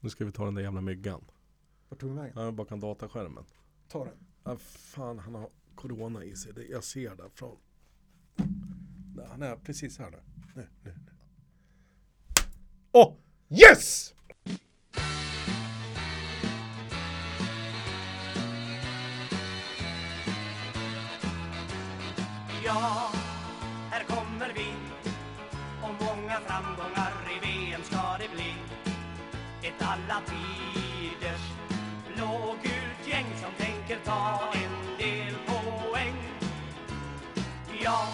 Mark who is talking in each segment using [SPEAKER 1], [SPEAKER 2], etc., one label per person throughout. [SPEAKER 1] Nu ska vi ta den där jävla myggan.
[SPEAKER 2] Vart tog den vägen?
[SPEAKER 1] Han är bakom dataskärmen.
[SPEAKER 2] Ta den.
[SPEAKER 1] Ja, fan, han har corona i sig. Det- Jag ser det från. Nej, Han är precis här nu. Nu, nu, nu. Åh! yes!
[SPEAKER 3] Ja, här kommer vi Och många framgångar i VM ska det bli Ett alla tiders blågult gäng som tänker ta en del poäng Ja,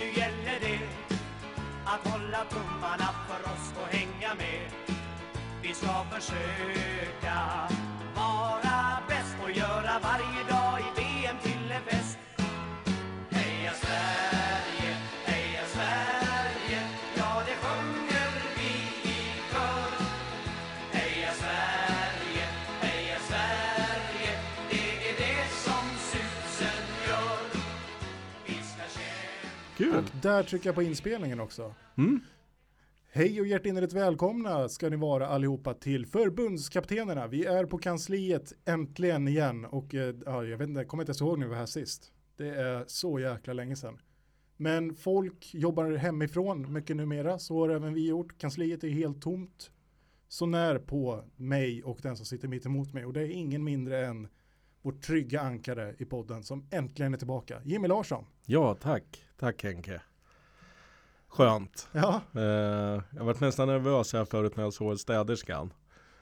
[SPEAKER 3] nu gäller det att hålla tummarna för oss och hänga med Vi ska försöka vara bäst och göra varje dag i VM till en fest Heja Sverige, heja Sverige, ja det sjunger vi i kör. Heja Sverige, heja Sverige, det är det som susen gör. Vi ska kämpa
[SPEAKER 1] Kul!
[SPEAKER 2] Och där trycker jag på inspelningen också. Hej och hjärtinnerligt välkomna ska ni vara allihopa till förbundskaptenerna. Vi är på kansliet äntligen igen och eh, ja, jag vet inte, jag kommer inte ens ihåg när vi var här sist. Det är så jäkla länge sedan. Men folk jobbar hemifrån mycket numera, så har även vi gjort. Kansliet är helt tomt. Så när på mig och den som sitter mitt emot mig och det är ingen mindre än vårt trygga ankare i podden som äntligen är tillbaka. Jimmy Larsson.
[SPEAKER 1] Ja, tack. Tack Henke. Skönt.
[SPEAKER 2] Ja,
[SPEAKER 1] Eh, jag varit nästan nervös här förut när jag såg städerskan.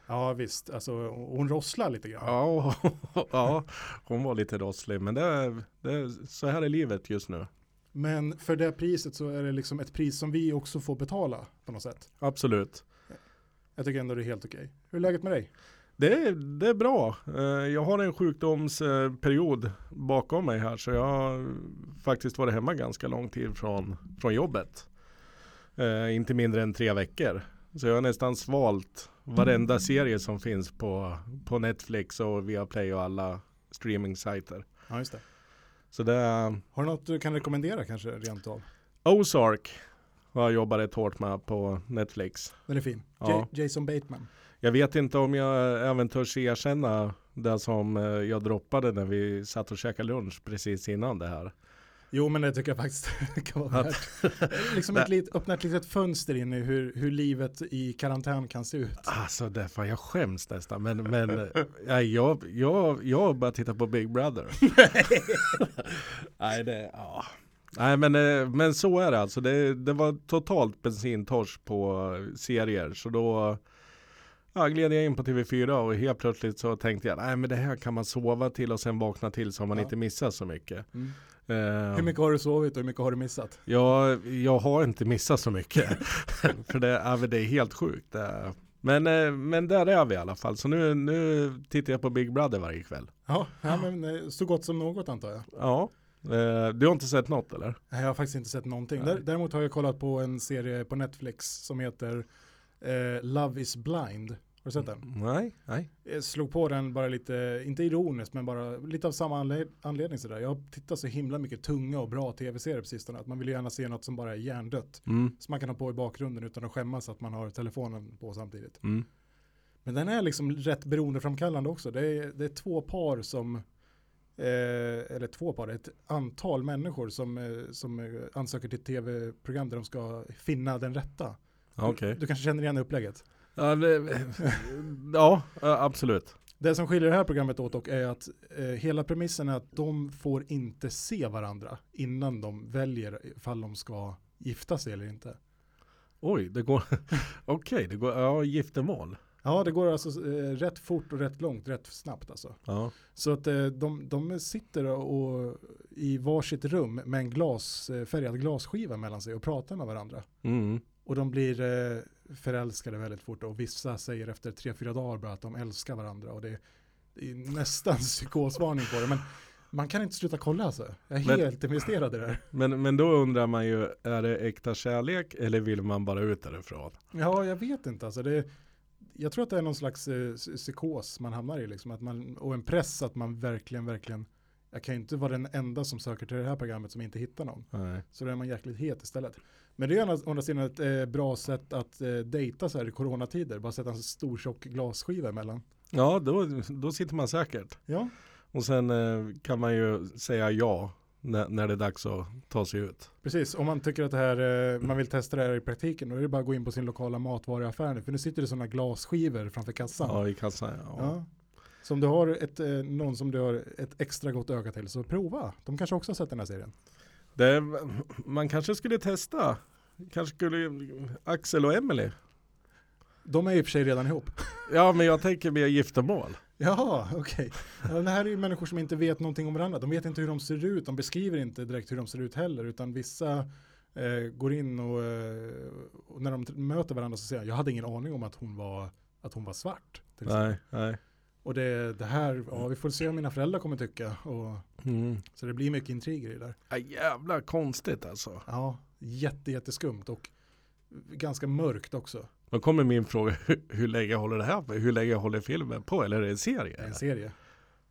[SPEAKER 2] Ja visst, alltså hon rosslar lite grann. Ja.
[SPEAKER 1] Ja, ja, hon var lite rosslig. Men det, är- det, är- så här är livet just nu.
[SPEAKER 2] Men för det priset så är det liksom ett pris som vi också får betala på något sätt.
[SPEAKER 1] Absolut.
[SPEAKER 2] Jag tycker ändå det är helt okej. Hur är läget med dig?
[SPEAKER 1] Det är, det är bra. Eh, Jag har en sjukdomsperiod bakom mig här så jag har faktiskt varit hemma ganska lång tid från, från jobbet. Eh, Inte mindre än tre veckor. Så jag har nästan svalt varenda serie som finns på, på Netflix och Viaplay och alla streaming-sajter.
[SPEAKER 2] Ja just det.
[SPEAKER 1] Så det är
[SPEAKER 2] Har du något du kan rekommendera kanske rent av?
[SPEAKER 1] Ozark har jag jobbat rätt hårt med på Netflix.
[SPEAKER 2] Den är fin.
[SPEAKER 1] Ja.
[SPEAKER 2] Ja. Jason Bateman.
[SPEAKER 1] Jag vet inte om jag även törs erkänna det som eh, jag droppade när vi satt och käkade lunch precis innan det här.
[SPEAKER 2] Jo men det tycker jag faktiskt kan vara värt. Liksom ett litet, öppna ett litet fönster in i hur, hur livet i karantän kan se ut.
[SPEAKER 1] Alltså det, fan, jag skäms nästan. Men, men eh, nej, jag, jag, jag bara tittar på Big Brother. nej, det, ja. nej men, eh, men så är det alltså. Det, det var totalt bensintors på eh, serier. Så då ja, gled jag in på TV4 och helt plötsligt så tänkte jag nej men det här kan man sova till och sen vakna till så man
[SPEAKER 2] Ja.
[SPEAKER 1] inte missar så mycket.
[SPEAKER 2] Mm.
[SPEAKER 1] Eh,
[SPEAKER 2] Hur mycket har du sovit och hur mycket har du missat?
[SPEAKER 1] Jag, jag har inte missat så mycket. För det, ja, men det är helt sjukt. Det är- Men, eh, men där är vi i alla fall. Så nu, nu tittar jag på Big Brother varje kväll.
[SPEAKER 2] Ja, ja men eh, så gott som något antar jag.
[SPEAKER 1] Ja. Eh, Du har inte sett något eller?
[SPEAKER 2] Nej, jag har faktiskt inte sett någonting.
[SPEAKER 1] Nej.
[SPEAKER 2] Där- Däremot har jag kollat på en serie på Netflix som heter eh, Love is blind. Har du sett den?
[SPEAKER 1] Nej. Nej.
[SPEAKER 2] Jag slog på den bara lite, inte ironiskt, men bara lite av samma anled anledning sådär. Jag tittar så himla mycket tunga och bra tv-serier på sistone att man vill ju gärna se något som bara är hjärndött.
[SPEAKER 1] Mm.
[SPEAKER 2] Som man kan ha på i bakgrunden utan att skämmas att man har telefonen på samtidigt.
[SPEAKER 1] Mm.
[SPEAKER 2] Men den är liksom rätt beroendeframkallande också. Det är, det är två par som, eh, eller två par, ett antal människor som, eh, som eh, ansöker till tv-program där de ska finna den rätta.
[SPEAKER 1] Okej.
[SPEAKER 2] Du kanske känner igen upplägget?
[SPEAKER 1] Ja, det- Ja, eh, absolut.
[SPEAKER 2] Det som skiljer det här programmet åt dock är att eh, hela premissen är att de får inte se varandra innan de väljer ifall de ska gifta sig eller inte.
[SPEAKER 1] Oj, det går. Okej, det går. Ja, giftermål.
[SPEAKER 2] Ja, det går alltså eh, rätt fort och rätt långt, rätt snabbt alltså.
[SPEAKER 1] Ja.
[SPEAKER 2] Så att eh, de, de sitter och, i varsitt rum med en glas, eh, färgad glasskiva mellan sig och pratar med varandra.
[SPEAKER 1] Mm.
[SPEAKER 2] Och de blir eh, förälskade väldigt fort och vissa säger efter tre, fyra dagar bara att de älskar varandra och det, det är nästan psykosvarning på det. Men man kan inte sluta kolla alltså. Jag är
[SPEAKER 1] Men-
[SPEAKER 2] helt investerad i det här.
[SPEAKER 1] Men, men då undrar man ju, är det äkta kärlek eller vill man bara ut därifrån?
[SPEAKER 2] Ja, jag vet inte alltså. Det, jag tror att det är någon slags eh, psy- psykos man hamnar i liksom. Att man, och en press att man verkligen, verkligen. Jag kan ju inte vara den enda som söker till det här programmet som inte hittar någon.
[SPEAKER 1] Nej.
[SPEAKER 2] Så då är man jäkligt het istället. Men det är å andra- å andra sidan ett eh, bra sätt att eh, dejta så här i coronatider. Bara sätta en stor tjock glasskiva emellan.
[SPEAKER 1] Ja, då, då sitter man säkert.
[SPEAKER 2] Ja,
[SPEAKER 1] Och sen eh, kan man ju säga ja när, när det är dags att ta sig ut.
[SPEAKER 2] precis. Om man tycker att det här, eh, man vill testa det här i praktiken, då är det bara att gå in på sin lokala matvaruaffär nu. För nu sitter det sådana glasskivor framför kassan.
[SPEAKER 1] Ja, i kassan. Ja.
[SPEAKER 2] Ja. Så om du har ett, eh, någon som du har ett extra gott öga till, så prova. De kanske också har sett den här serien.
[SPEAKER 1] Det, man kanske skulle testa. Kanske skulle Axel och Emily.
[SPEAKER 2] De är i och för sig redan ihop.
[SPEAKER 1] Ja, men jag tänker mer giftermål.
[SPEAKER 2] Jaha, okej. Ja, Det här är ju människor som inte vet någonting om varandra. De vet inte hur de ser ut. De beskriver inte direkt hur de ser ut heller, utan vissa eh, går in och, eh, och när de t- möter varandra så säger jag, jag hade ingen aning om att hon var, att hon var svart. Till exempel.
[SPEAKER 1] Nej, nej.
[SPEAKER 2] och det, det här, ja vi får se vad mina föräldrar kommer tycka. Och,
[SPEAKER 1] Mm.
[SPEAKER 2] så det blir mycket intriger i det där.
[SPEAKER 1] Ja, jävla konstigt alltså.
[SPEAKER 2] Ja, jätte, jätteskumt och ganska mörkt också.
[SPEAKER 1] Då kommer min fråga, hur- hur länge håller det här på? Hur länge håller filmen på? Eller är det en
[SPEAKER 2] Det är
[SPEAKER 1] serie?
[SPEAKER 2] en serie.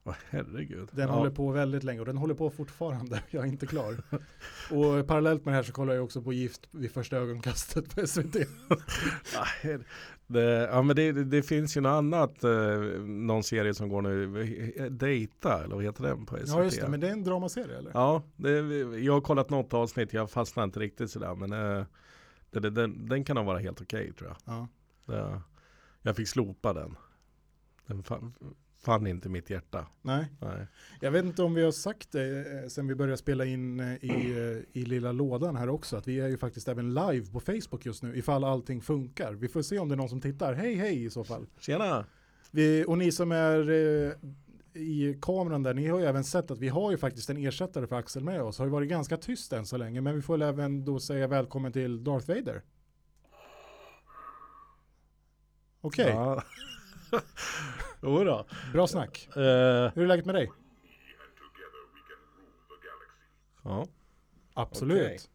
[SPEAKER 1] Åh, herregud.
[SPEAKER 2] Den
[SPEAKER 1] ja.
[SPEAKER 2] håller på väldigt länge och den håller på fortfarande. Jag är inte klar. och parallellt med det här så kollar jag också på Gift vid första ögonkastet på SVT.
[SPEAKER 1] Ja, her- Det, ja, men det, det finns ju något annat, eh, någon serie som går nu, Dejta, eller vad heter den på SVT?
[SPEAKER 2] Ja just det, men det är en dramaserie eller?
[SPEAKER 1] Ja, det, jag har kollat något avsnitt, jag fastnar inte riktigt sådär, men eh, det, det, den, den kan nog vara helt okej tror jag.
[SPEAKER 2] Ja.
[SPEAKER 1] Det, jag fick slopa den. Den fann, fann inte mitt hjärta.
[SPEAKER 2] Nej,
[SPEAKER 1] Nej.
[SPEAKER 2] jag vet inte om vi har sagt det eh, sen vi började spela in eh, i, eh, i lilla lådan här också, att vi är ju faktiskt även live på Facebook just nu, ifall allting funkar. Vi får se om det är någon som tittar. Hej hej i så fall.
[SPEAKER 1] Tjena!
[SPEAKER 2] Vi, och ni som är eh, i kameran där, ni har ju även sett att vi har ju faktiskt en ersättare för Axel med oss. Har ju varit ganska tyst än så länge, men vi får väl även då säga välkommen till Darth Vader. Okej,
[SPEAKER 1] Ja. Jodå.
[SPEAKER 2] bra snack.
[SPEAKER 1] Eh,
[SPEAKER 2] Hur är läget med dig?
[SPEAKER 1] Eh, ja.
[SPEAKER 2] Absolut. Eh,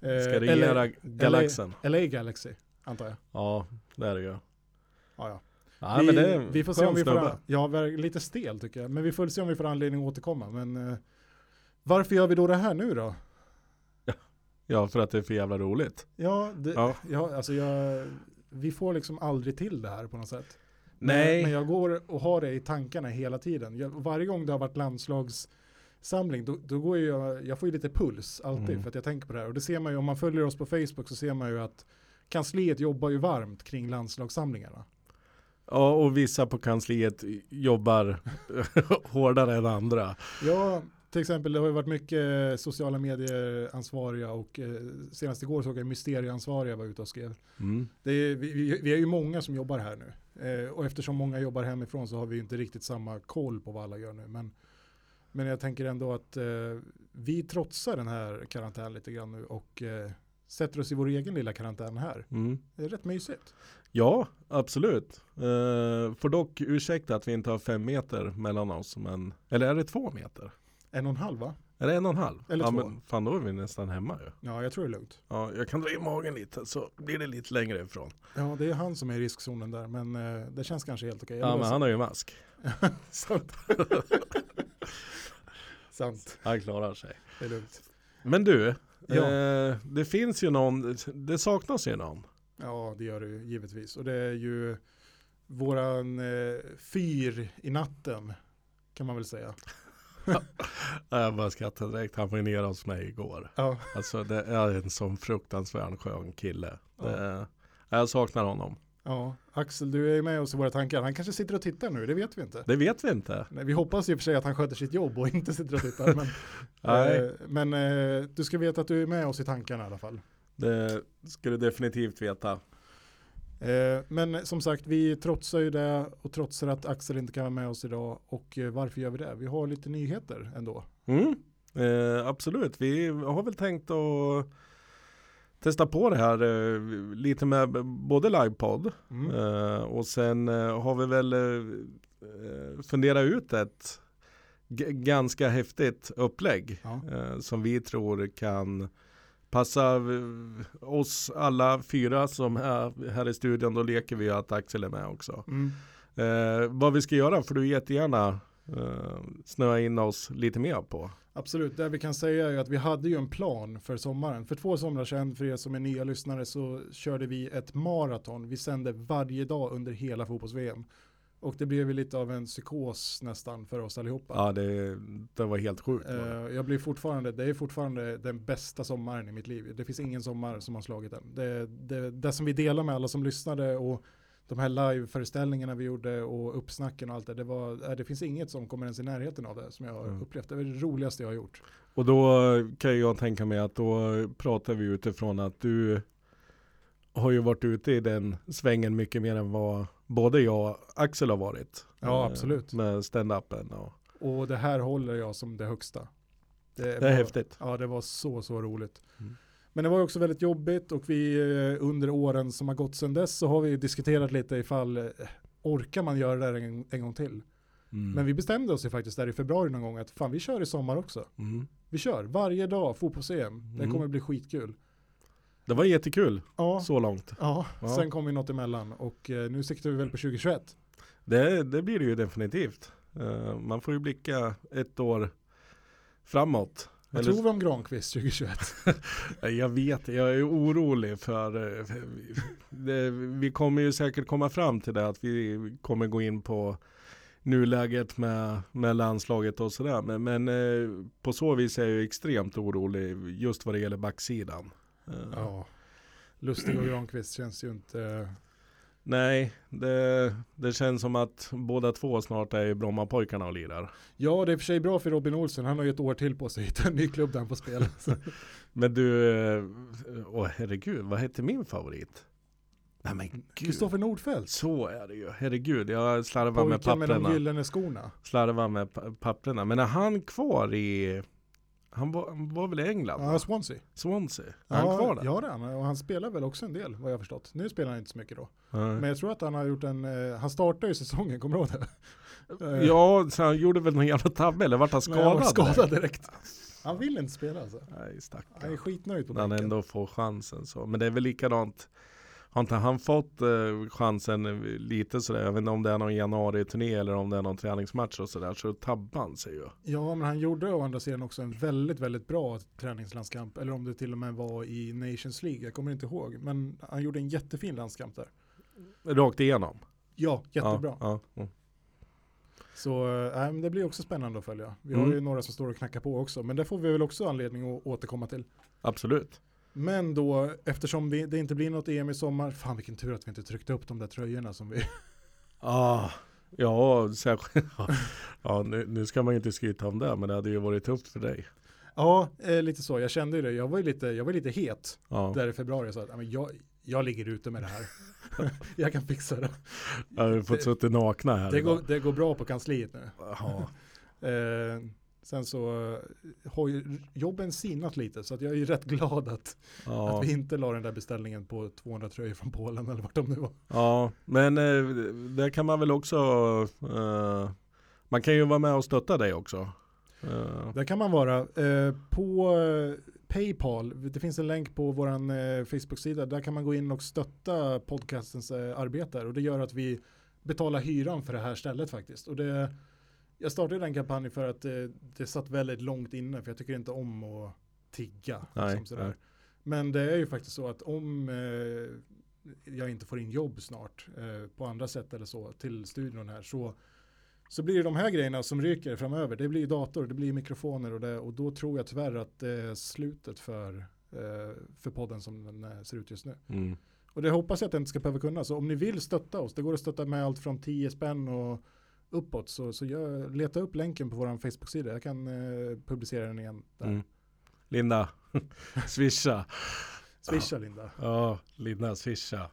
[SPEAKER 2] Okay.
[SPEAKER 1] Ska regera galaxen.
[SPEAKER 2] LA, LA Galaxy, antar jag.
[SPEAKER 1] ja, det är det ju.
[SPEAKER 2] Ja, ja.
[SPEAKER 1] Ja,
[SPEAKER 2] vi,
[SPEAKER 1] men det är en
[SPEAKER 2] vi får se om
[SPEAKER 1] skön
[SPEAKER 2] vi får,
[SPEAKER 1] snubbe.
[SPEAKER 2] an- ja, ver- lite stel tycker jag, men vi får väl se om vi får anledning att återkomma. Men, eh, varför gör vi då det här nu då?
[SPEAKER 1] Ja, för att det är för jävla roligt.
[SPEAKER 2] Ja, det, ja.
[SPEAKER 1] Ja.
[SPEAKER 2] alltså jag, vi får liksom aldrig till det här på något sätt.
[SPEAKER 1] Nej.
[SPEAKER 2] Men jag går och har det i tankarna hela tiden. Jag, varje gång det har varit landslagssamling, då, då går ju jag, jag får ju lite puls alltid
[SPEAKER 1] Mm.
[SPEAKER 2] för att jag tänker på det här. Och det ser man ju, om man följer oss på Facebook så ser man ju att kansliet jobbar ju varmt kring landslagssamlingarna.
[SPEAKER 1] Ja, och vissa på kansliet jobbar hårdare än andra.
[SPEAKER 2] Ja, till exempel det har ju varit mycket eh, sociala medier-ansvariga och eh, senast igår såg jag mysterieansvariga var ute och skrev
[SPEAKER 1] Mm.
[SPEAKER 2] Det är, vi, vi- vi är ju många som jobbar här nu. Eh, och eftersom många jobbar hemifrån så har vi ju inte riktigt samma koll på vad alla gör nu. Men, men jag tänker ändå att eh, vi trotsar den här karantänen lite grann nu och eh, sätter oss i vår egen lilla karantän här.
[SPEAKER 1] Mm.
[SPEAKER 2] Det är rätt mysigt.
[SPEAKER 1] Ja, absolut. Eh, får dock ursäkta att vi inte har fem meter mellan oss. Men, eller är det två meter?
[SPEAKER 2] En och en halv va?
[SPEAKER 1] Är det en och en halv?
[SPEAKER 2] Eller
[SPEAKER 1] ja,
[SPEAKER 2] två.
[SPEAKER 1] Men, fan, då är vi nästan hemma ju.
[SPEAKER 2] Ja, jag tror det är lugnt.
[SPEAKER 1] Ja, jag kan dra in magen lite så blir det lite längre ifrån.
[SPEAKER 2] Ja, det är han som är i riskzonen där, men eh, det känns kanske helt okej.
[SPEAKER 1] Ja, men han har ju mask.
[SPEAKER 2] Sant. Sant,
[SPEAKER 1] Han klarar sig.
[SPEAKER 2] det är lugnt.
[SPEAKER 1] Men du,
[SPEAKER 2] Ja.
[SPEAKER 1] eh, det finns ju någon, det saknas ju någon.
[SPEAKER 2] Ja, det gör det ju givetvis. Och det är ju våran eh, fyr i natten kan man väl säga.
[SPEAKER 1] Nej, Äh, Jag bara skrattade direkt, han var ju nere hos mig igår.
[SPEAKER 2] Ja,
[SPEAKER 1] Alltså det är en sån fruktansvärt skön kille.
[SPEAKER 2] Ja.
[SPEAKER 1] Det, jag saknar honom.
[SPEAKER 2] ja. Axel, du är ju med oss i våra tankar. Han kanske sitter och tittar nu, det vet vi inte.
[SPEAKER 1] Det vet vi inte.
[SPEAKER 2] Nej, vi hoppas ju i och för sig att han sköter sitt jobb och inte sitter och tittar. Men,
[SPEAKER 1] Nej,
[SPEAKER 2] eh, men eh, du ska veta att du är med oss i tankarna i alla fall.
[SPEAKER 1] det ska du definitivt veta.
[SPEAKER 2] Eh, men som sagt, vi trotsar ju det och trotsar att Axel inte kan vara med oss idag. Och eh, varför gör vi det? Vi har lite nyheter ändå.
[SPEAKER 1] Mm. Eh, absolut, vi har väl tänkt att testa på det här eh, lite med b- både livepodd
[SPEAKER 2] Mm.
[SPEAKER 1] eh, och sen eh, har vi väl eh, eh, funderat ut ett g- ganska häftigt upplägg
[SPEAKER 2] Ja.
[SPEAKER 1] eh, som vi tror kan passa eh, oss alla fyra som är här i studion. Då leker vi att Axel är med också.
[SPEAKER 2] Mm.
[SPEAKER 1] Eh, vad vi ska göra, för du jättegärna eh, snöa in oss lite mer på.
[SPEAKER 2] Absolut, det vi kan säga är att vi hade ju en plan för sommaren. För två somrar sedan, för er som är nya lyssnare, så körde vi ett maraton. Vi sände varje dag under hela fotbolls-VM. Och det blev ju lite av en psykos nästan för oss allihopa.
[SPEAKER 1] Ja, det, det var helt sjukt. var det.
[SPEAKER 2] Eh, Jag blir fortfarande, det är fortfarande den bästa sommaren i mitt liv. Det finns ingen sommar som har slagit den. Det, det, det som vi delar med alla som lyssnade och de här live-föreställningarna vi gjorde och uppsnacken och allt det. Det, var, eh, det finns inget som kommer ens i närheten av det som jag har
[SPEAKER 1] Mm.
[SPEAKER 2] upplevt. Det var det roligaste jag har gjort.
[SPEAKER 1] Och då eh, kan jag tänka mig att då pratar vi utifrån att du har ju varit ute i den svängen mycket mer än vad både jag och Axel har varit.
[SPEAKER 2] Ja,
[SPEAKER 1] Eh,
[SPEAKER 2] absolut.
[SPEAKER 1] Med stand-upen och
[SPEAKER 2] Och det här håller jag som det högsta.
[SPEAKER 1] det är
[SPEAKER 2] var-
[SPEAKER 1] häftigt.
[SPEAKER 2] Ja, det var så, så roligt.
[SPEAKER 1] Mm.
[SPEAKER 2] Men det var ju också väldigt jobbigt och vi eh, under åren som har gått sedan dess så har vi diskuterat lite ifall eh, orkar man göra det här en, en gång till?
[SPEAKER 1] Mm.
[SPEAKER 2] Men vi bestämde oss ju faktiskt där i februari någon gång att fan vi kör i sommar också.
[SPEAKER 1] Mm.
[SPEAKER 2] Vi kör varje dag fotbolls-EM. Det
[SPEAKER 1] Mm.
[SPEAKER 2] kommer bli skitkul.
[SPEAKER 1] Det var jättekul
[SPEAKER 2] Ja,
[SPEAKER 1] så långt.
[SPEAKER 2] ja.
[SPEAKER 1] Ja.
[SPEAKER 2] sen kom ju något emellan och eh, nu siktar vi väl på 2021.
[SPEAKER 1] Det, det blir det ju definitivt. Eh, man får ju blicka ett år framåt.
[SPEAKER 2] Vad
[SPEAKER 1] Eller-
[SPEAKER 2] tror vi om Granqvist 2021?
[SPEAKER 1] Nej, Eh, Jag vet, jag är orolig för, eh, vi- det, vi kommer ju säkert komma fram till det, att vi kommer gå in på nuläget med, med landslaget och sådär. Men, men eh, på så vis är jag ju extremt orolig just vad det gäller backsidan. Eh,
[SPEAKER 2] Ja, Lustig och Granqvist känns ju inte... eh,
[SPEAKER 1] Nej, det, det känns som att båda två snart är i Brommapojkarna och lirar.
[SPEAKER 2] Ja, det är i och för sig bra för Robin Olsen. Han har ju ett år till på sig att hitta en ny klubb där han får spela. Så-
[SPEAKER 1] Men du, eh, åh herregud, vad hette min favorit? Nej men gud,
[SPEAKER 2] Kristoffer Nordfeldt.
[SPEAKER 1] så är det ju. Herregud, jag slarvar med
[SPEAKER 2] Pojken med
[SPEAKER 1] papperna.
[SPEAKER 2] de gyllene skorna.
[SPEAKER 1] slarva med pa- papperna. Men är han kvar i, han var, han var väl i England?
[SPEAKER 2] Ja, Swansea.
[SPEAKER 1] Swansea? Är han kvar där?
[SPEAKER 2] Ja, det är han. Och han spelar väl också en del, vad jag har förstått. Nu spelar han inte så mycket
[SPEAKER 1] Mm.
[SPEAKER 2] då.
[SPEAKER 1] Nej.
[SPEAKER 2] Men jag tror att han har gjort en, eh, han startade ju säsongen, kommer du ihåg det? Eh,
[SPEAKER 1] ja, så han gjorde väl någon jävla tabbe eller vart han
[SPEAKER 2] men han var
[SPEAKER 1] skadad?
[SPEAKER 2] skadad direkt. Han vill inte spela alltså.
[SPEAKER 1] Nej stackarn.
[SPEAKER 2] Han är skitnöjd på
[SPEAKER 1] När han
[SPEAKER 2] bänken.
[SPEAKER 1] ändå får chansen så. Men det är väl likadant. Har inte han fått eh, chansen eh, lite sådär? Jag vet inte om det är någon januari-turné eller om det är någon träningsmatch och sådär. Så tabbar han sig ju.
[SPEAKER 2] Ja, men han gjorde å andra sidan också en väldigt, väldigt bra träningslandskamp. Eller om det till och med var i Nations League, jag kommer inte ihåg. Men han gjorde en jättefin landskamp där.
[SPEAKER 1] Rakt igenom.
[SPEAKER 2] Ja, jättebra.
[SPEAKER 1] Ja, ja. Mm.
[SPEAKER 2] Så äh, men det blir också spännande att följa. Vi har
[SPEAKER 1] Mm.
[SPEAKER 2] ju några som står och knackar på också, men det får vi väl också anledning att återkomma till.
[SPEAKER 1] Absolut.
[SPEAKER 2] Men då, eftersom vi, det inte blir något EM i sommar, fan vilken tur att vi inte tryckte upp de där tröjorna som vi...
[SPEAKER 1] Ah, ja, särskilt. ja, nu, nu ska man ju inte skryta om det, men det hade ju varit tufft för dig.
[SPEAKER 2] Ja, eh, lite så, jag kände ju det. Jag var ju lite, jag var ju lite het
[SPEAKER 1] Ja.
[SPEAKER 2] där i februari, så att ja, men jag, jag ligger ute med det här. jag kan fixa det.
[SPEAKER 1] Jag har ju fått
[SPEAKER 2] det-
[SPEAKER 1] suttit nakna här.
[SPEAKER 2] Det
[SPEAKER 1] idag.
[SPEAKER 2] går, det går bra på kansliet nu.
[SPEAKER 1] Ja.
[SPEAKER 2] Eh, sen så eh, har ju jobben sinat lite, så att jag är ju rätt glad att
[SPEAKER 1] Ja.
[SPEAKER 2] Att vi inte la den där beställningen på 200 tröjor från Polen eller vart de nu var.
[SPEAKER 1] ja, men eh, där kan man väl också, eh, man kan ju vara med och stötta dig också. Eh,
[SPEAKER 2] Där kan man vara. Eh, på eh, Paypal, det finns en länk på vår eh, Facebook-sida, där kan man gå in och stötta podcastens eh, arbete. Och det gör att vi betalar hyran för det här stället faktiskt. Och det, jag startade den kampanjen för att eh, det satt väldigt långt inne, för jag tycker inte om att tigga.
[SPEAKER 1] Nej,
[SPEAKER 2] liksom sådär.
[SPEAKER 1] nej.
[SPEAKER 2] Men det är ju faktiskt så att om eh, jag inte får in jobb snart eh, på andra sätt eller så till studion här så så blir det de här grejerna som ryker framöver. Det blir dator, det blir mikrofoner och, det, och då tror jag tyvärr att det är slutet för, eh, för podden som den eh, ser ut just nu.
[SPEAKER 1] mm.
[SPEAKER 2] Och det hoppas jag att den inte ska behöva kunna. Så om ni vill stötta oss, det går att stötta med allt från 10 spänn och uppåt. Så, så jag, leta upp länken på vår Facebook-sida. Jag kan eh, publicera den igen där.
[SPEAKER 1] Mm. Linda, swisha.
[SPEAKER 2] Swisha Linda.
[SPEAKER 1] Ja, Linda, swisha.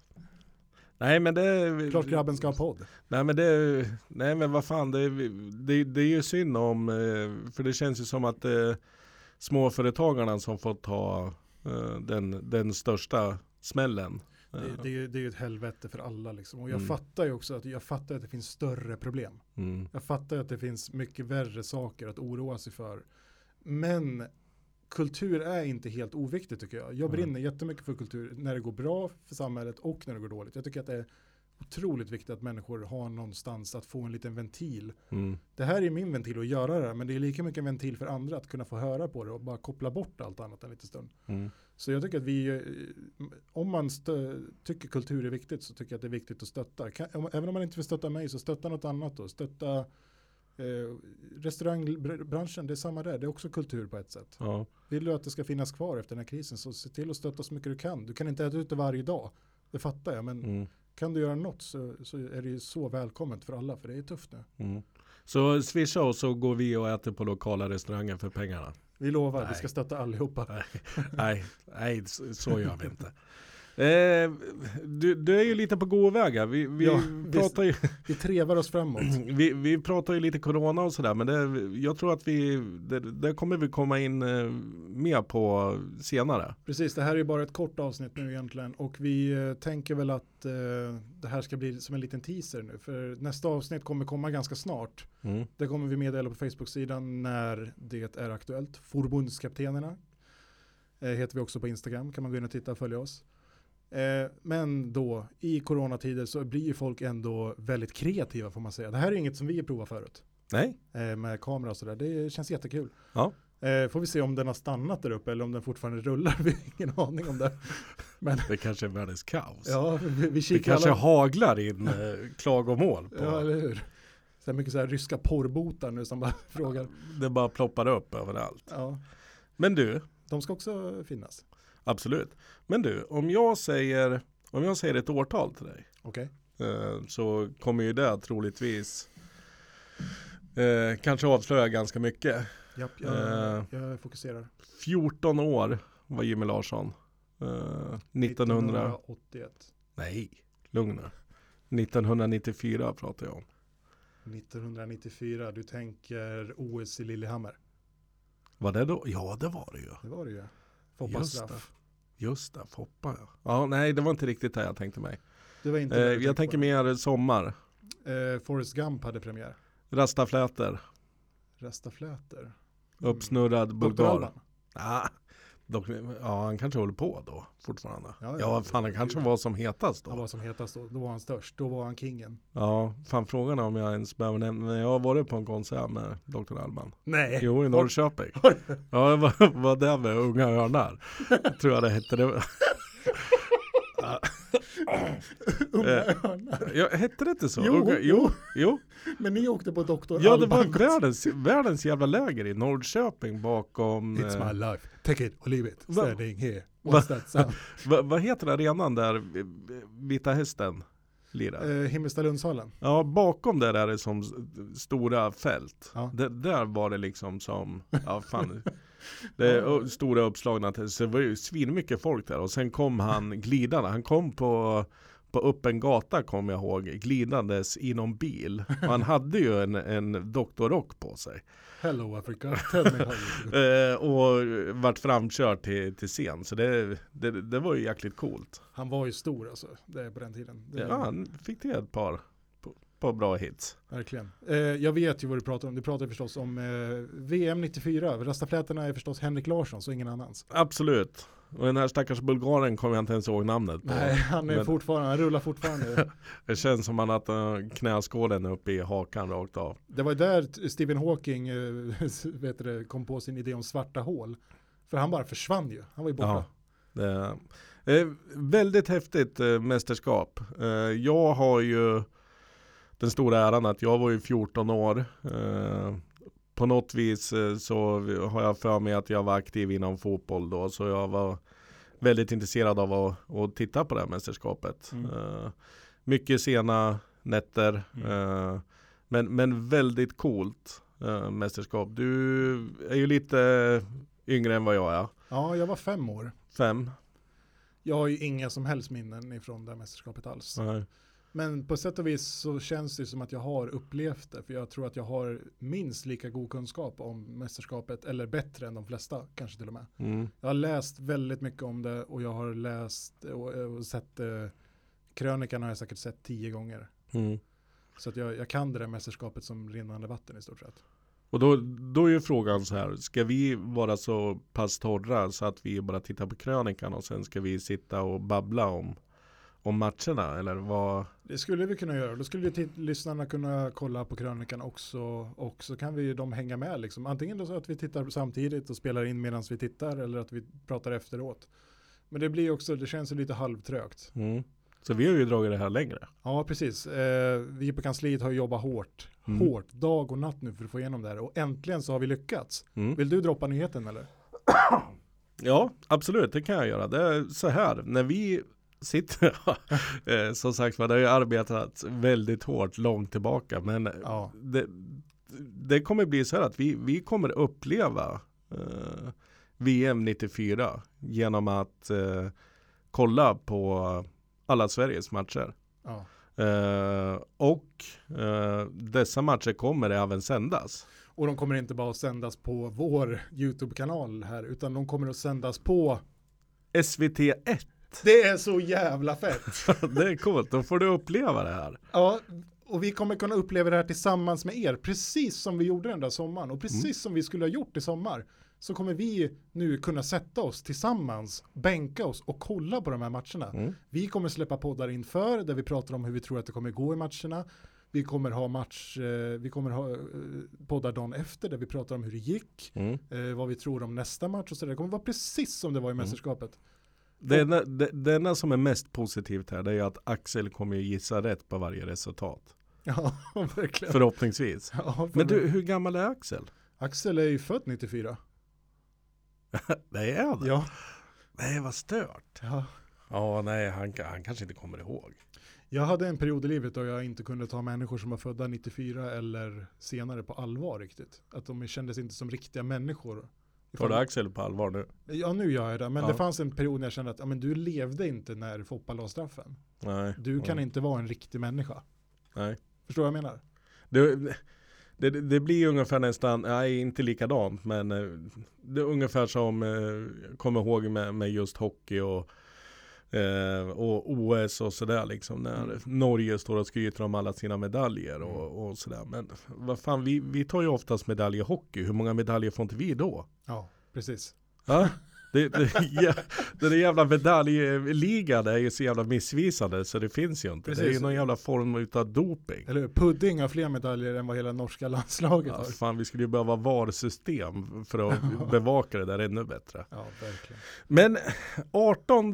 [SPEAKER 1] Nej men det...
[SPEAKER 2] Klart grabben ska ha podd.
[SPEAKER 1] Nej men det, nej men vad fan, det, det, det är ju synd om, eh, för det känns ju som att eh, småföretagarna som fått ta eh, den, den största smällen. Eh,
[SPEAKER 2] Det, det, är ju- det är ju ett helvete för alla liksom. Och jag
[SPEAKER 1] Mm.
[SPEAKER 2] fattar ju också att, jag fattar att det finns större problem.
[SPEAKER 1] Mm.
[SPEAKER 2] Jag fattar att det finns mycket värre saker att oroa sig för. Men kultur är inte helt oviktigt tycker jag. Jag
[SPEAKER 1] Mm.
[SPEAKER 2] brinner jättemycket för kultur när det går bra för samhället och när det går dåligt. Jag tycker att det är Otroligt viktigt att människor har någonstans att få en liten ventil.
[SPEAKER 1] Mm.
[SPEAKER 2] Det här är min ventil att göra det här, men det är lika mycket en ventil för andra att kunna få höra på det och bara koppla bort allt annat en liten stund.
[SPEAKER 1] Mm.
[SPEAKER 2] Så jag tycker att vi, eh, om man stö- tycker kultur är viktigt så tycker jag att det är viktigt att stötta. Kan, om, även om man inte vill stötta mig så stötta något annat då. Stötta eh, restaurangbranschen, det är samma där, det är också kultur på ett sätt.
[SPEAKER 1] Ja.
[SPEAKER 2] Vill du att det ska finnas kvar efter den här krisen så se till att stötta så mycket du kan. Du kan inte äta ute varje dag, det fattar jag, men
[SPEAKER 1] Mm.
[SPEAKER 2] kan du göra något så, så är det ju så välkommet för alla, för det är tufft nu.
[SPEAKER 1] Mm. Så swisha oss så går vi och äter på lokala restauranger för pengarna.
[SPEAKER 2] Vi lovar, vi
[SPEAKER 1] Nej.
[SPEAKER 2] ska stötta allihopa.
[SPEAKER 1] nej, nej, så så gör vi inte. Eh, du, du är ju lite på gåvägar. Vi, vi,
[SPEAKER 2] Ja,
[SPEAKER 1] pratar ju,
[SPEAKER 2] Vi trevar oss framåt.
[SPEAKER 1] vi, vi pratar ju lite corona och sådär. Men det, jag tror att vi, det, det kommer vi komma in eh, mer på senare.
[SPEAKER 2] Precis, det här är ju bara ett kort avsnitt nu egentligen och vi eh, tänker väl att eh, det här ska bli som en liten teaser nu för nästa avsnitt kommer komma ganska snart.
[SPEAKER 1] Mm.
[SPEAKER 2] Det kommer vi meddela på Facebook-sidan när det är aktuellt. Förbundskaptenerna eh, heter vi också på Instagram, kan man gå in och titta och följa oss. Eh, men då, i coronatider så blir ju folk ändå väldigt kreativa får man säga. Det här är inget som vi provar förut
[SPEAKER 1] Nej,
[SPEAKER 2] eh, med kamera och sådär. Det känns jättekul.
[SPEAKER 1] Ja.
[SPEAKER 2] Eh, får vi se om den har stannat där uppe eller om den fortfarande rullar. Vi har ingen aning om det. Men
[SPEAKER 1] det kanske är världens kaos.
[SPEAKER 2] ja, vi, vi
[SPEAKER 1] det
[SPEAKER 2] kikar
[SPEAKER 1] kanske
[SPEAKER 2] alla.
[SPEAKER 1] haglar in eh, klagomål. På.
[SPEAKER 2] Ja, eller hur? Så här mycket så här ryska porrbotar nu som bara frågar.
[SPEAKER 1] Det bara ploppar upp överallt.
[SPEAKER 2] Ja,
[SPEAKER 1] Men du,
[SPEAKER 2] de ska också finnas.
[SPEAKER 1] absolut. Men du, om jag säger, om jag säger ett årtal till dig.
[SPEAKER 2] Okej.
[SPEAKER 1] Eh, så kommer ju det troligtvis eh, kanske avslöja ganska mycket.
[SPEAKER 2] Japp, jag,
[SPEAKER 1] Eh.
[SPEAKER 2] jag fokuserar.
[SPEAKER 1] 14 år var Jimmy Larsson. Eh, 1900,
[SPEAKER 2] 1981.
[SPEAKER 1] nej, lugn nu. 1994 pratar jag om.
[SPEAKER 2] 1994, du tänker OS i Lillehammer.
[SPEAKER 1] Var det då? Ja, det var det ju.
[SPEAKER 2] Det var det ju. Foppas
[SPEAKER 1] Just
[SPEAKER 2] straff.
[SPEAKER 1] Just det, Foppa ja. Ja, nej, det var inte riktigt det jag tänkte mig.
[SPEAKER 2] Det var inte
[SPEAKER 1] Eh,
[SPEAKER 2] det du
[SPEAKER 1] jag tänker
[SPEAKER 2] på.
[SPEAKER 1] mer sommar.
[SPEAKER 2] Eh, Forrest Gump hade premiär.
[SPEAKER 1] Rastafläter,
[SPEAKER 2] Rastafläter.
[SPEAKER 1] uppsnurrad
[SPEAKER 2] Dr.
[SPEAKER 1] bulgar.
[SPEAKER 2] Alban.
[SPEAKER 1] Ah, dock, ja, han kanske håller på då fortfarande.
[SPEAKER 2] Ja, ja.
[SPEAKER 1] Ja, fan, han kanske var som hetast då.
[SPEAKER 2] Han var som hetast då. Då var han störst. Då var han kingen.
[SPEAKER 1] Ja, fan frågan är om jag ens behöver nämna, men jag har varit på en konsert med Dr. Alban.
[SPEAKER 2] Nej.
[SPEAKER 1] Jo, i Norrköping. Ja, jag var, var där med Unga Örnar. Tror jag det hette. Det. Eh, Ja, hette det inte så?
[SPEAKER 2] Jo,
[SPEAKER 1] Unga- jo, jo.
[SPEAKER 2] Men ni åkte på Dr.
[SPEAKER 1] Ja, det var världens, världens jävla läger i Norrköping bakom...
[SPEAKER 2] It's
[SPEAKER 1] eh,
[SPEAKER 2] my life. Take it or leave it.
[SPEAKER 1] Va-
[SPEAKER 2] Standing here. What's that sound?
[SPEAKER 1] va- vad heter arenan där eh, Vita Hästen lirar?
[SPEAKER 2] Eh, Himmelstalundshallen.
[SPEAKER 1] Ja, bakom där är det som s- stora fält.
[SPEAKER 2] Ja.
[SPEAKER 1] Det, där var det liksom som, ja fan. Det är ö- stora uppslagna, till- så det var ju svinmycket folk där. Och sen kom han glidande, han kom på, på öppen gata kommer jag ihåg, glidandes i någon bil. Och han hade ju en, en doktorrock på sig.
[SPEAKER 2] Hello Africa. Tell me how you do.
[SPEAKER 1] Eh, och vart framkörd till, till scen. Så det, det, det var ju jäkligt coolt.
[SPEAKER 2] Han var ju stor alltså. Det är på den tiden. Det är,
[SPEAKER 1] Ja, han fick till ett par, par bra hits.
[SPEAKER 2] Verkligen. Eh, jag vet ju vad du pratar om. Du pratar förstås om eh, VM 94. Rastaflätarna är förstås Henrik Larsson och ingen annans.
[SPEAKER 1] Absolut. Och den här stackars bulgaren kommer jag inte ens ihåg namnet på.
[SPEAKER 2] Nej, han är
[SPEAKER 1] men-
[SPEAKER 2] fortfarande, han rullar fortfarande.
[SPEAKER 1] Det känns som han att eh, knäskålen är uppe i hakan rakt av.
[SPEAKER 2] Det var där t- Stephen Hawking eh, vet du, det, kom på sin idé om svarta hål. För han bara försvann ju. Han var ju borta.
[SPEAKER 1] Ja. Det, eh, väldigt häftigt eh, mästerskap. Eh, jag har ju den stora äran att jag var ju 14 år. Eh, på något vis eh, så har jag för mig att jag var aktiv inom fotboll då. Så jag var väldigt intresserad av att, att titta på det här mästerskapet.
[SPEAKER 2] Mm.
[SPEAKER 1] Eh, mycket sena nätter.
[SPEAKER 2] Mm.
[SPEAKER 1] Eh, men, men väldigt coolt eh, mästerskap. Du är ju lite yngre än vad jag är.
[SPEAKER 2] Ja, jag var fem år.
[SPEAKER 1] Fem.
[SPEAKER 2] Jag har ju inga som helst minnen ifrån det här mästerskapet alls. Men på sätt och vis så känns det som att jag har upplevt det. För jag tror att jag har minst lika god kunskap om mästerskapet. Eller bättre än de flesta, kanske till och med.
[SPEAKER 1] Mm.
[SPEAKER 2] Jag har läst väldigt mycket om det och jag har läst och, och sett eh, krönikan har jag säkert sett tio gånger.
[SPEAKER 1] Mm.
[SPEAKER 2] Så att jag, jag kan det där mästerskapet som rinnande vatten i stort sett.
[SPEAKER 1] Och då, då är ju frågan så här, ska vi vara så pass torra så att vi bara tittar på krönikan och sen ska vi sitta och babbla om, om matcherna eller vad?
[SPEAKER 2] Det skulle vi kunna göra. Då skulle ju titt- lyssnarna kunna kolla på krönikan också. Och så kan vi ju de hänga med liksom. Antingen då så att vi tittar samtidigt och spelar in medan vi tittar eller att vi pratar efteråt. Men det blir också, det känns ju lite halvtrögt.
[SPEAKER 1] Mm. Så vi har ju dragit det här längre.
[SPEAKER 2] Ja, precis. Eh, vi på kansliet har jobbat hårt.
[SPEAKER 1] Mm.
[SPEAKER 2] Hårt, dag och natt nu för att få igenom det här. Och äntligen så har vi lyckats.
[SPEAKER 1] Mm.
[SPEAKER 2] Vill du droppa nyheten eller?
[SPEAKER 1] Ja, absolut, det kan jag göra. Det är så här, när vi sitter, eh, som sagt var, det har ju arbetat väldigt hårt långt tillbaka, men
[SPEAKER 2] Ja.
[SPEAKER 1] det, det kommer bli så här att vi, vi kommer uppleva eh, VM 94 genom att eh, kolla på alla Sveriges matcher.
[SPEAKER 2] ja.
[SPEAKER 1] Eh, och eh, dessa matcher kommer även sändas.
[SPEAKER 2] Och de kommer inte bara att sändas på vår YouTube-kanal här, utan de kommer att sändas på...
[SPEAKER 1] SVT1,
[SPEAKER 2] Det är så jävla fett!
[SPEAKER 1] det är coolt, då får du uppleva det här.
[SPEAKER 2] Ja, och vi kommer kunna uppleva det här tillsammans med er, precis som vi gjorde den där sommaren och precis
[SPEAKER 1] Mm.
[SPEAKER 2] som vi skulle ha gjort i sommar. Så kommer vi nu kunna sätta oss tillsammans, bänka oss och kolla på de här matcherna.
[SPEAKER 1] Mm.
[SPEAKER 2] Vi kommer släppa poddar inför där vi pratar om hur vi tror att det kommer gå i matcherna. Vi kommer ha match, eh, vi kommer ha eh, poddar dagen efter där vi pratar om hur det gick,
[SPEAKER 1] Mm.
[SPEAKER 2] eh, vad vi tror om nästa match och sådär. Det kommer vara precis som det var i mästerskapet.
[SPEAKER 1] Det enda, det, det enda som är mest positivt här det är ju att Axel kommer ju gissa rätt på varje resultat.
[SPEAKER 2] Ja, verkligen.
[SPEAKER 1] Förhoppningsvis. Mm.
[SPEAKER 2] Ja,
[SPEAKER 1] Men du, hur gammal är Axel?
[SPEAKER 2] Axel är ju född 94.
[SPEAKER 1] Det är han.
[SPEAKER 2] Ja.
[SPEAKER 1] Nej, vad stört.
[SPEAKER 2] ja.
[SPEAKER 1] Ja, nej, han, ka- han kanske inte kommer ihåg.
[SPEAKER 2] Jag hade en period i livet då jag inte kunde ta människor som var födda 94 eller senare på allvar riktigt. Att de kändes inte som riktiga människor.
[SPEAKER 1] Tar du Axel på allvar nu?
[SPEAKER 2] Ja, nu gör jag det. Men
[SPEAKER 1] Ja.
[SPEAKER 2] det fanns en period när jag kände att ja, men du levde inte när Foppa la straffen.
[SPEAKER 1] Nej.
[SPEAKER 2] Du kan
[SPEAKER 1] Mm.
[SPEAKER 2] inte vara en riktig människa.
[SPEAKER 1] Nej.
[SPEAKER 2] Förstår vad jag menar?
[SPEAKER 1] Du, det, det blir ju ungefär nästan, nej inte likadant, men eh, det är ungefär som, eh, jag kommer ihåg med, med just hockey och, eh, och OS och sådär liksom, när
[SPEAKER 2] Mm.
[SPEAKER 1] Norge står och skryter om alla sina medaljer och, och sådär. Men vad fan, vi, vi tar ju oftast medalj i hockey, hur många medaljer får inte vi då?
[SPEAKER 2] Ja, precis.
[SPEAKER 1] Ja? Det, det, ja, den där jävla medaljligan är ju så jävla missvisande så det finns ju inte. Det är ju
[SPEAKER 2] Precis.
[SPEAKER 1] någon jävla form utav doping.
[SPEAKER 2] Eller hur? Pudding har fler medaljer än vad hela norska landslaget
[SPEAKER 1] Ja,
[SPEAKER 2] har.
[SPEAKER 1] fan, vi skulle ju behöva VAR-system för att bevaka det där ännu bättre.
[SPEAKER 2] Ja, verkligen.
[SPEAKER 1] Men 18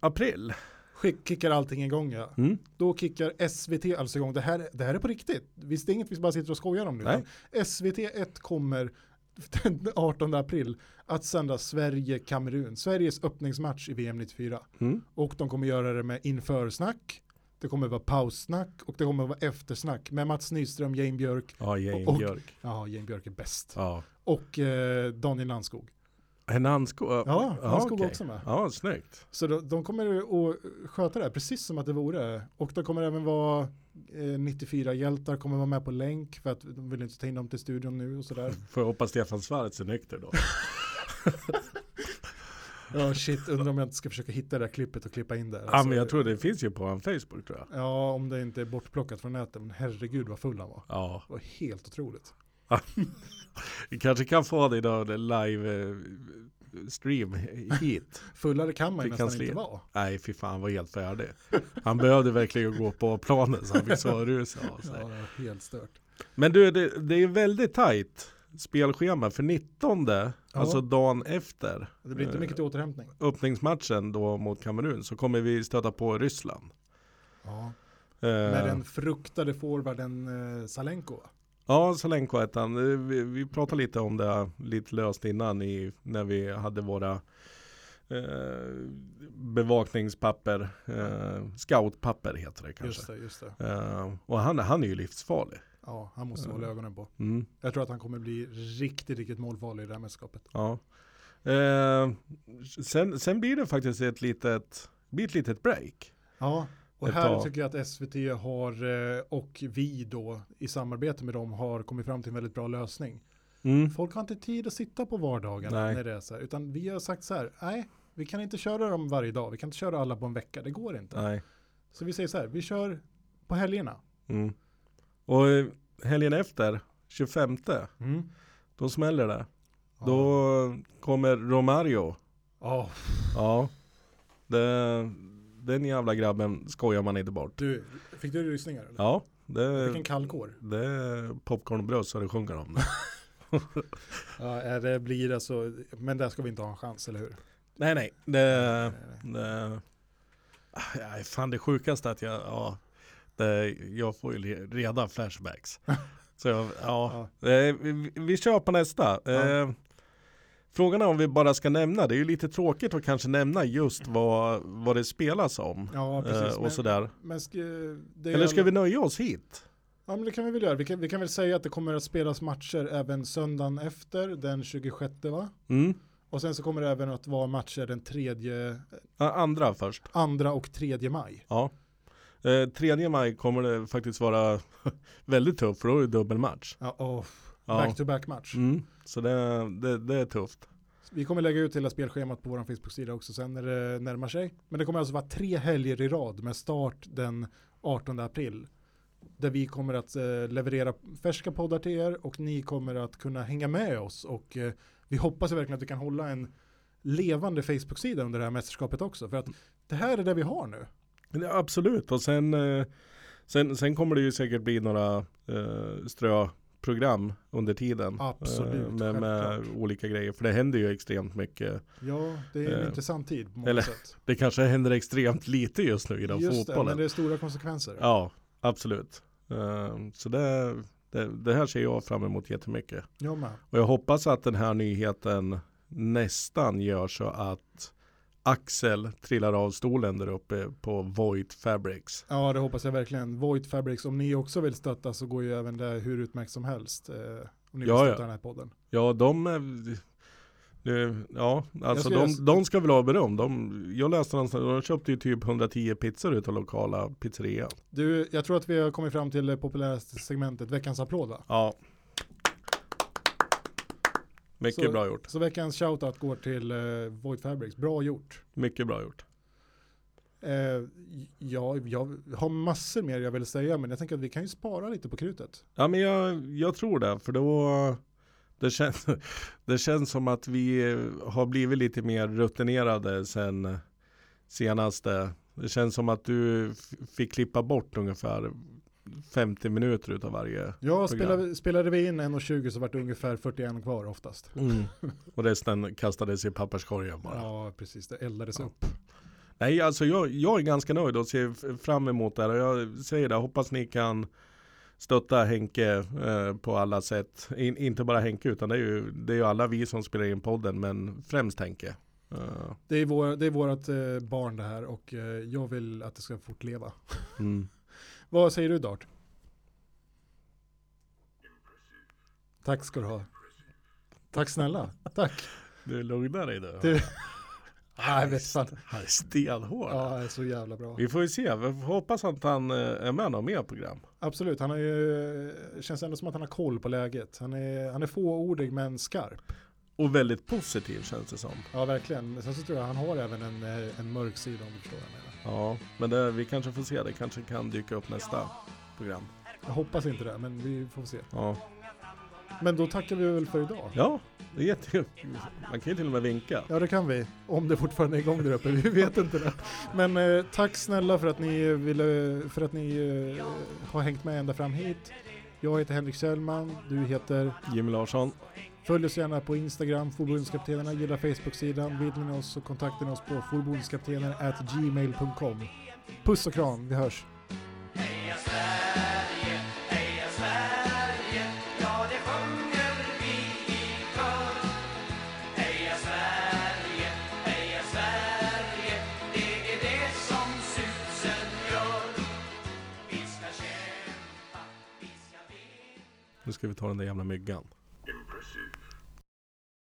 [SPEAKER 1] april.
[SPEAKER 2] Skick, kickar allting igång ja.
[SPEAKER 1] Mm.
[SPEAKER 2] Då kickar SVT alltså igång. Det här, det här är på riktigt. Visst, det är inget vi bara sitter och skojar om nu.
[SPEAKER 1] Nej.
[SPEAKER 2] utan SVT1 kommer den 18 april att sända Sverige-Kamerun. Sveriges öppningsmatch i VM 94.
[SPEAKER 1] Mm.
[SPEAKER 2] Och de kommer göra det med införsnack. Det kommer vara paussnack och det kommer vara eftersnack med Mats Nyström, Jane Björk.
[SPEAKER 1] Ja, Jane
[SPEAKER 2] Och-
[SPEAKER 1] Björk.
[SPEAKER 2] Ja, Jane Björk är bäst.
[SPEAKER 1] Ja.
[SPEAKER 2] Och eh, Daniel Landskog.
[SPEAKER 1] Henanskog.
[SPEAKER 2] Ja, Landskog också med.
[SPEAKER 1] Ja, snyggt.
[SPEAKER 2] Så de, de kommer att sköta det här precis som att det vore. Och de kommer även vara eh, 94 hjältar kommer vara med på länk för att de vill inte ta in dem till studion nu och sådär.
[SPEAKER 1] Får jag hoppas Stefan Schwarz är nykter då.
[SPEAKER 2] Ja shit, undrar om jag inte ska försöka hitta det där klippet och klippa in det. Alltså,
[SPEAKER 1] ja, men jag tror det finns ju på hans Facebook tror jag.
[SPEAKER 2] Ja, om det inte är bortplockat från nätet. Men herregud vad full han var.
[SPEAKER 1] Ja,
[SPEAKER 2] Det var helt otroligt.
[SPEAKER 1] vi kanske kan få det idag, det live eh, stream hit.
[SPEAKER 2] Fullare kan man ju
[SPEAKER 1] Till
[SPEAKER 2] nästan
[SPEAKER 1] kansliet.
[SPEAKER 2] inte vara.
[SPEAKER 1] Nej, fy fan var helt färdig. Han behövde verkligen gå på planen så han fick så rusa av
[SPEAKER 2] Ja,
[SPEAKER 1] sig.
[SPEAKER 2] det var helt stört.
[SPEAKER 1] Men du, det, det är väldigt tajt spelschema för 19, alltså dagen efter
[SPEAKER 2] Det blir
[SPEAKER 1] Eh.
[SPEAKER 2] inte mycket till återhämtning.
[SPEAKER 1] öppningsmatchen då mot Kamerun så kommer vi stöta på Ryssland.
[SPEAKER 2] Ja.
[SPEAKER 1] Eh,
[SPEAKER 2] Med den fruktade forwarden eh, Salenko. va?
[SPEAKER 1] Ja, Solenko ettan. Eh, Vi, vi pratade lite om det lite löst innan i, när vi hade våra eh, bevakningspapper, eh, scoutpapper heter det kanske.
[SPEAKER 2] Just det, just det.
[SPEAKER 1] Eh, och han, han är ju livsfarlig.
[SPEAKER 2] Ja, han måste hålla ögonen på.
[SPEAKER 1] Mm.
[SPEAKER 2] Jag tror att han kommer bli riktigt, riktigt målfarlig i det här mästerskapet.
[SPEAKER 1] Ja. Eh, sen, sen blir det faktiskt ett litet, blir ett litet break.
[SPEAKER 2] Ja, och
[SPEAKER 1] Ett
[SPEAKER 2] här
[SPEAKER 1] tag.
[SPEAKER 2] tycker jag att SVT har, eh, och vi då, i samarbete med dem har kommit fram till en väldigt bra lösning.
[SPEAKER 1] Mm.
[SPEAKER 2] Folk har inte tid att sitta på vardagarna
[SPEAKER 1] Nej.
[SPEAKER 2] när det är så här, utan vi har sagt så här, nej, vi kan inte köra dem varje dag, vi kan inte köra alla på en vecka, det går inte.
[SPEAKER 1] Nej.
[SPEAKER 2] Så vi säger så här, vi kör på helgerna.
[SPEAKER 1] Mm. Och eh, helgen efter, 25,
[SPEAKER 2] Mm.
[SPEAKER 1] då smäller det.
[SPEAKER 2] Ja.
[SPEAKER 1] Då kommer Romario.
[SPEAKER 2] Ja,
[SPEAKER 1] Ja. Det, Den jävla grabben skojar man inte bort.
[SPEAKER 2] Du, fick du rysningar? Eller?
[SPEAKER 1] Ja, det,
[SPEAKER 2] Vilken kallkår.
[SPEAKER 1] det är popcornbröd så det sjunger om det.
[SPEAKER 2] Ja, eh, det blir alltså, men där ska vi inte ha en chans, eller hur?
[SPEAKER 1] Nej, nej. Det, det, nej, fan det sjukaste att jag, ja, det, jag får ju le- reda flashbacks. Så jag, ja, Eh, vi, vi kör på nästa. Eh, frågan är om vi bara ska nämna, det är ju lite tråkigt att kanske nämna just vad, vad det spelas om.
[SPEAKER 2] Ja, precis.
[SPEAKER 1] eh, och
[SPEAKER 2] men-
[SPEAKER 1] sådär.
[SPEAKER 2] Men ska, det är
[SPEAKER 1] Eller ska
[SPEAKER 2] alla-
[SPEAKER 1] vi nöja oss hit?
[SPEAKER 2] Ja, men det kan vi väl göra. Vi kan, vi kan väl säga att det kommer att spelas matcher även söndagen efter, den 26 va?
[SPEAKER 1] Mm.
[SPEAKER 2] Och sen så kommer det även att vara matcher den 3,
[SPEAKER 1] Ja, Andra först.
[SPEAKER 2] 2 och 3 maj.
[SPEAKER 1] Ja. Eh, 3 maj kommer det faktiskt vara väldigt tufft för då är det dubbelmatch.
[SPEAKER 2] Ja, oh,
[SPEAKER 1] Ja.
[SPEAKER 2] Back-to-back match.
[SPEAKER 1] Mm. Så det, det, det är tufft.
[SPEAKER 2] Vi kommer lägga ut hela spelschemat på vår Facebook-sida också sen när det närmar sig. Men det kommer alltså vara tre helger i rad med start den 18 april. Där vi kommer att eh, leverera färska poddar till er och ni kommer att kunna hänga med oss. Och eh, vi hoppas verkligen att vi kan hålla en levande Facebook-sida under det här mästerskapet också. För att det här är det vi har nu.
[SPEAKER 1] Ja, absolut, och sen, eh, sen, sen kommer det ju säkert bli några eh, ströprogram under tiden.
[SPEAKER 2] Absolut,
[SPEAKER 1] Eh, med, med
[SPEAKER 2] självklart.
[SPEAKER 1] olika grejer, för det händer ju extremt mycket.
[SPEAKER 2] Ja, det är en
[SPEAKER 1] Eh,
[SPEAKER 2] intressant tid på många
[SPEAKER 1] eller-
[SPEAKER 2] sätt.
[SPEAKER 1] Det kanske händer extremt lite just nu inom
[SPEAKER 2] Just det,
[SPEAKER 1] fotbollen.
[SPEAKER 2] men det är stora konsekvenser.
[SPEAKER 1] Ja, absolut. Eh, så det, det, det här ser jag fram emot jättemycket.
[SPEAKER 2] Jag med.
[SPEAKER 1] Och jag hoppas att den här nyheten nästan gör så att Axel trillar av stolen där uppe på Void Fabrics.
[SPEAKER 2] Ja, det hoppas jag verkligen. Void Fabrics, om ni också vill stötta så går ju även det hur utmärkt som helst. Eh, om ni vill
[SPEAKER 1] Ja, ja.
[SPEAKER 2] stötta den här podden.
[SPEAKER 1] Ja, de... eh, det- Ja, alltså
[SPEAKER 2] skulle-
[SPEAKER 1] de, de ska väl ha beröm. De, jag läste någonstans, de köpte ju typ 110 pizzor utav lokala pizzerian.
[SPEAKER 2] Du, jag tror att vi har kommit fram till det populäraste segmentet, veckans applåd va?
[SPEAKER 1] Ja. Mycket
[SPEAKER 2] Så-
[SPEAKER 1] bra gjort.
[SPEAKER 2] Så veckans shoutout går till eh, Void Fabrics, bra gjort.
[SPEAKER 1] Mycket bra gjort.
[SPEAKER 2] Eh, ja, jag har massor mer jag vill säga, men jag tänker att vi kan ju spara lite på krutet.
[SPEAKER 1] Ja, men jag, jag tror det, för då... Det känns, det känns som att vi har blivit lite mer rutinerade sen senaste. Det känns som att du f- fick klippa bort ungefär 50 minuter utav varje Program.
[SPEAKER 2] Ja, spelade, spelade vi in 1.20 så vart det ungefär 41 kvar oftast.
[SPEAKER 1] Och resten kastades i papperskorgen bara.
[SPEAKER 2] Ja, precis, det eldades upp.
[SPEAKER 1] Nej, alltså jag, jag är ganska nöjd och ser f- fram emot det här. Och jag säger det, hoppas ni kan stötta Henke eh, på alla sätt. In, inte bara Henke, utan det är, ju, det är ju alla vi som spelar in podden, men främst Henke. Eh,
[SPEAKER 2] Det är, vår, det är vårt eh, barn det här och eh, jag vill att det ska fortleva.
[SPEAKER 1] mm.
[SPEAKER 2] Vad säger du Dart? Tack ska du ha. Tack snälla. Tack.
[SPEAKER 1] Du lugnar dig nu.
[SPEAKER 2] Du- Nej, Ah, jag vet fan.
[SPEAKER 1] Han är stenhård.
[SPEAKER 2] Ja, det är så jävla bra.
[SPEAKER 1] Vi får ju se, vi får hoppas att han eh, är med något mer program.
[SPEAKER 2] Absolut, han har ju, känns ändå som att han har koll på läget. Han är, han är fåordig men skarp.
[SPEAKER 1] Och väldigt positiv känns det som.
[SPEAKER 2] Ja, verkligen. Men Sen så tror jag han har även en, eh, en mörk sida om du förstår vad jag menar.
[SPEAKER 1] Ja, men det, vi kanske får se, det kanske kan dyka upp nästa program.
[SPEAKER 2] Jag hoppas inte det, men vi får se.
[SPEAKER 1] Ja.
[SPEAKER 2] Men då tackar vi väl för idag.
[SPEAKER 1] Ja, det är jätte... Man kan ju till och med vinka.
[SPEAKER 2] Ja, det kan vi. Om det fortfarande är igång där uppe, vi vet inte det. Men eh, tack snälla för att ni, ville, för att ni eh, har hängt med ända fram hit. Jag heter Henrik Kjellman, du heter...
[SPEAKER 1] Jimmy Larsson,
[SPEAKER 2] Följ oss gärna på Instagram, Förbundskaptenerna, gilla Facebook-sidan, vill ni oss så kontakta oss på förbundskaptenerna@gmail.com. Puss och kram, vi hörs!
[SPEAKER 3] Heja Sverige, heja Sverige, ja det sjunger vi i kör. Heja Sverige, heja Sverige, det är det som susen gör. Vi ska kämpa, vi ska vinna.
[SPEAKER 1] nu ska vi ta den där jävla myggan.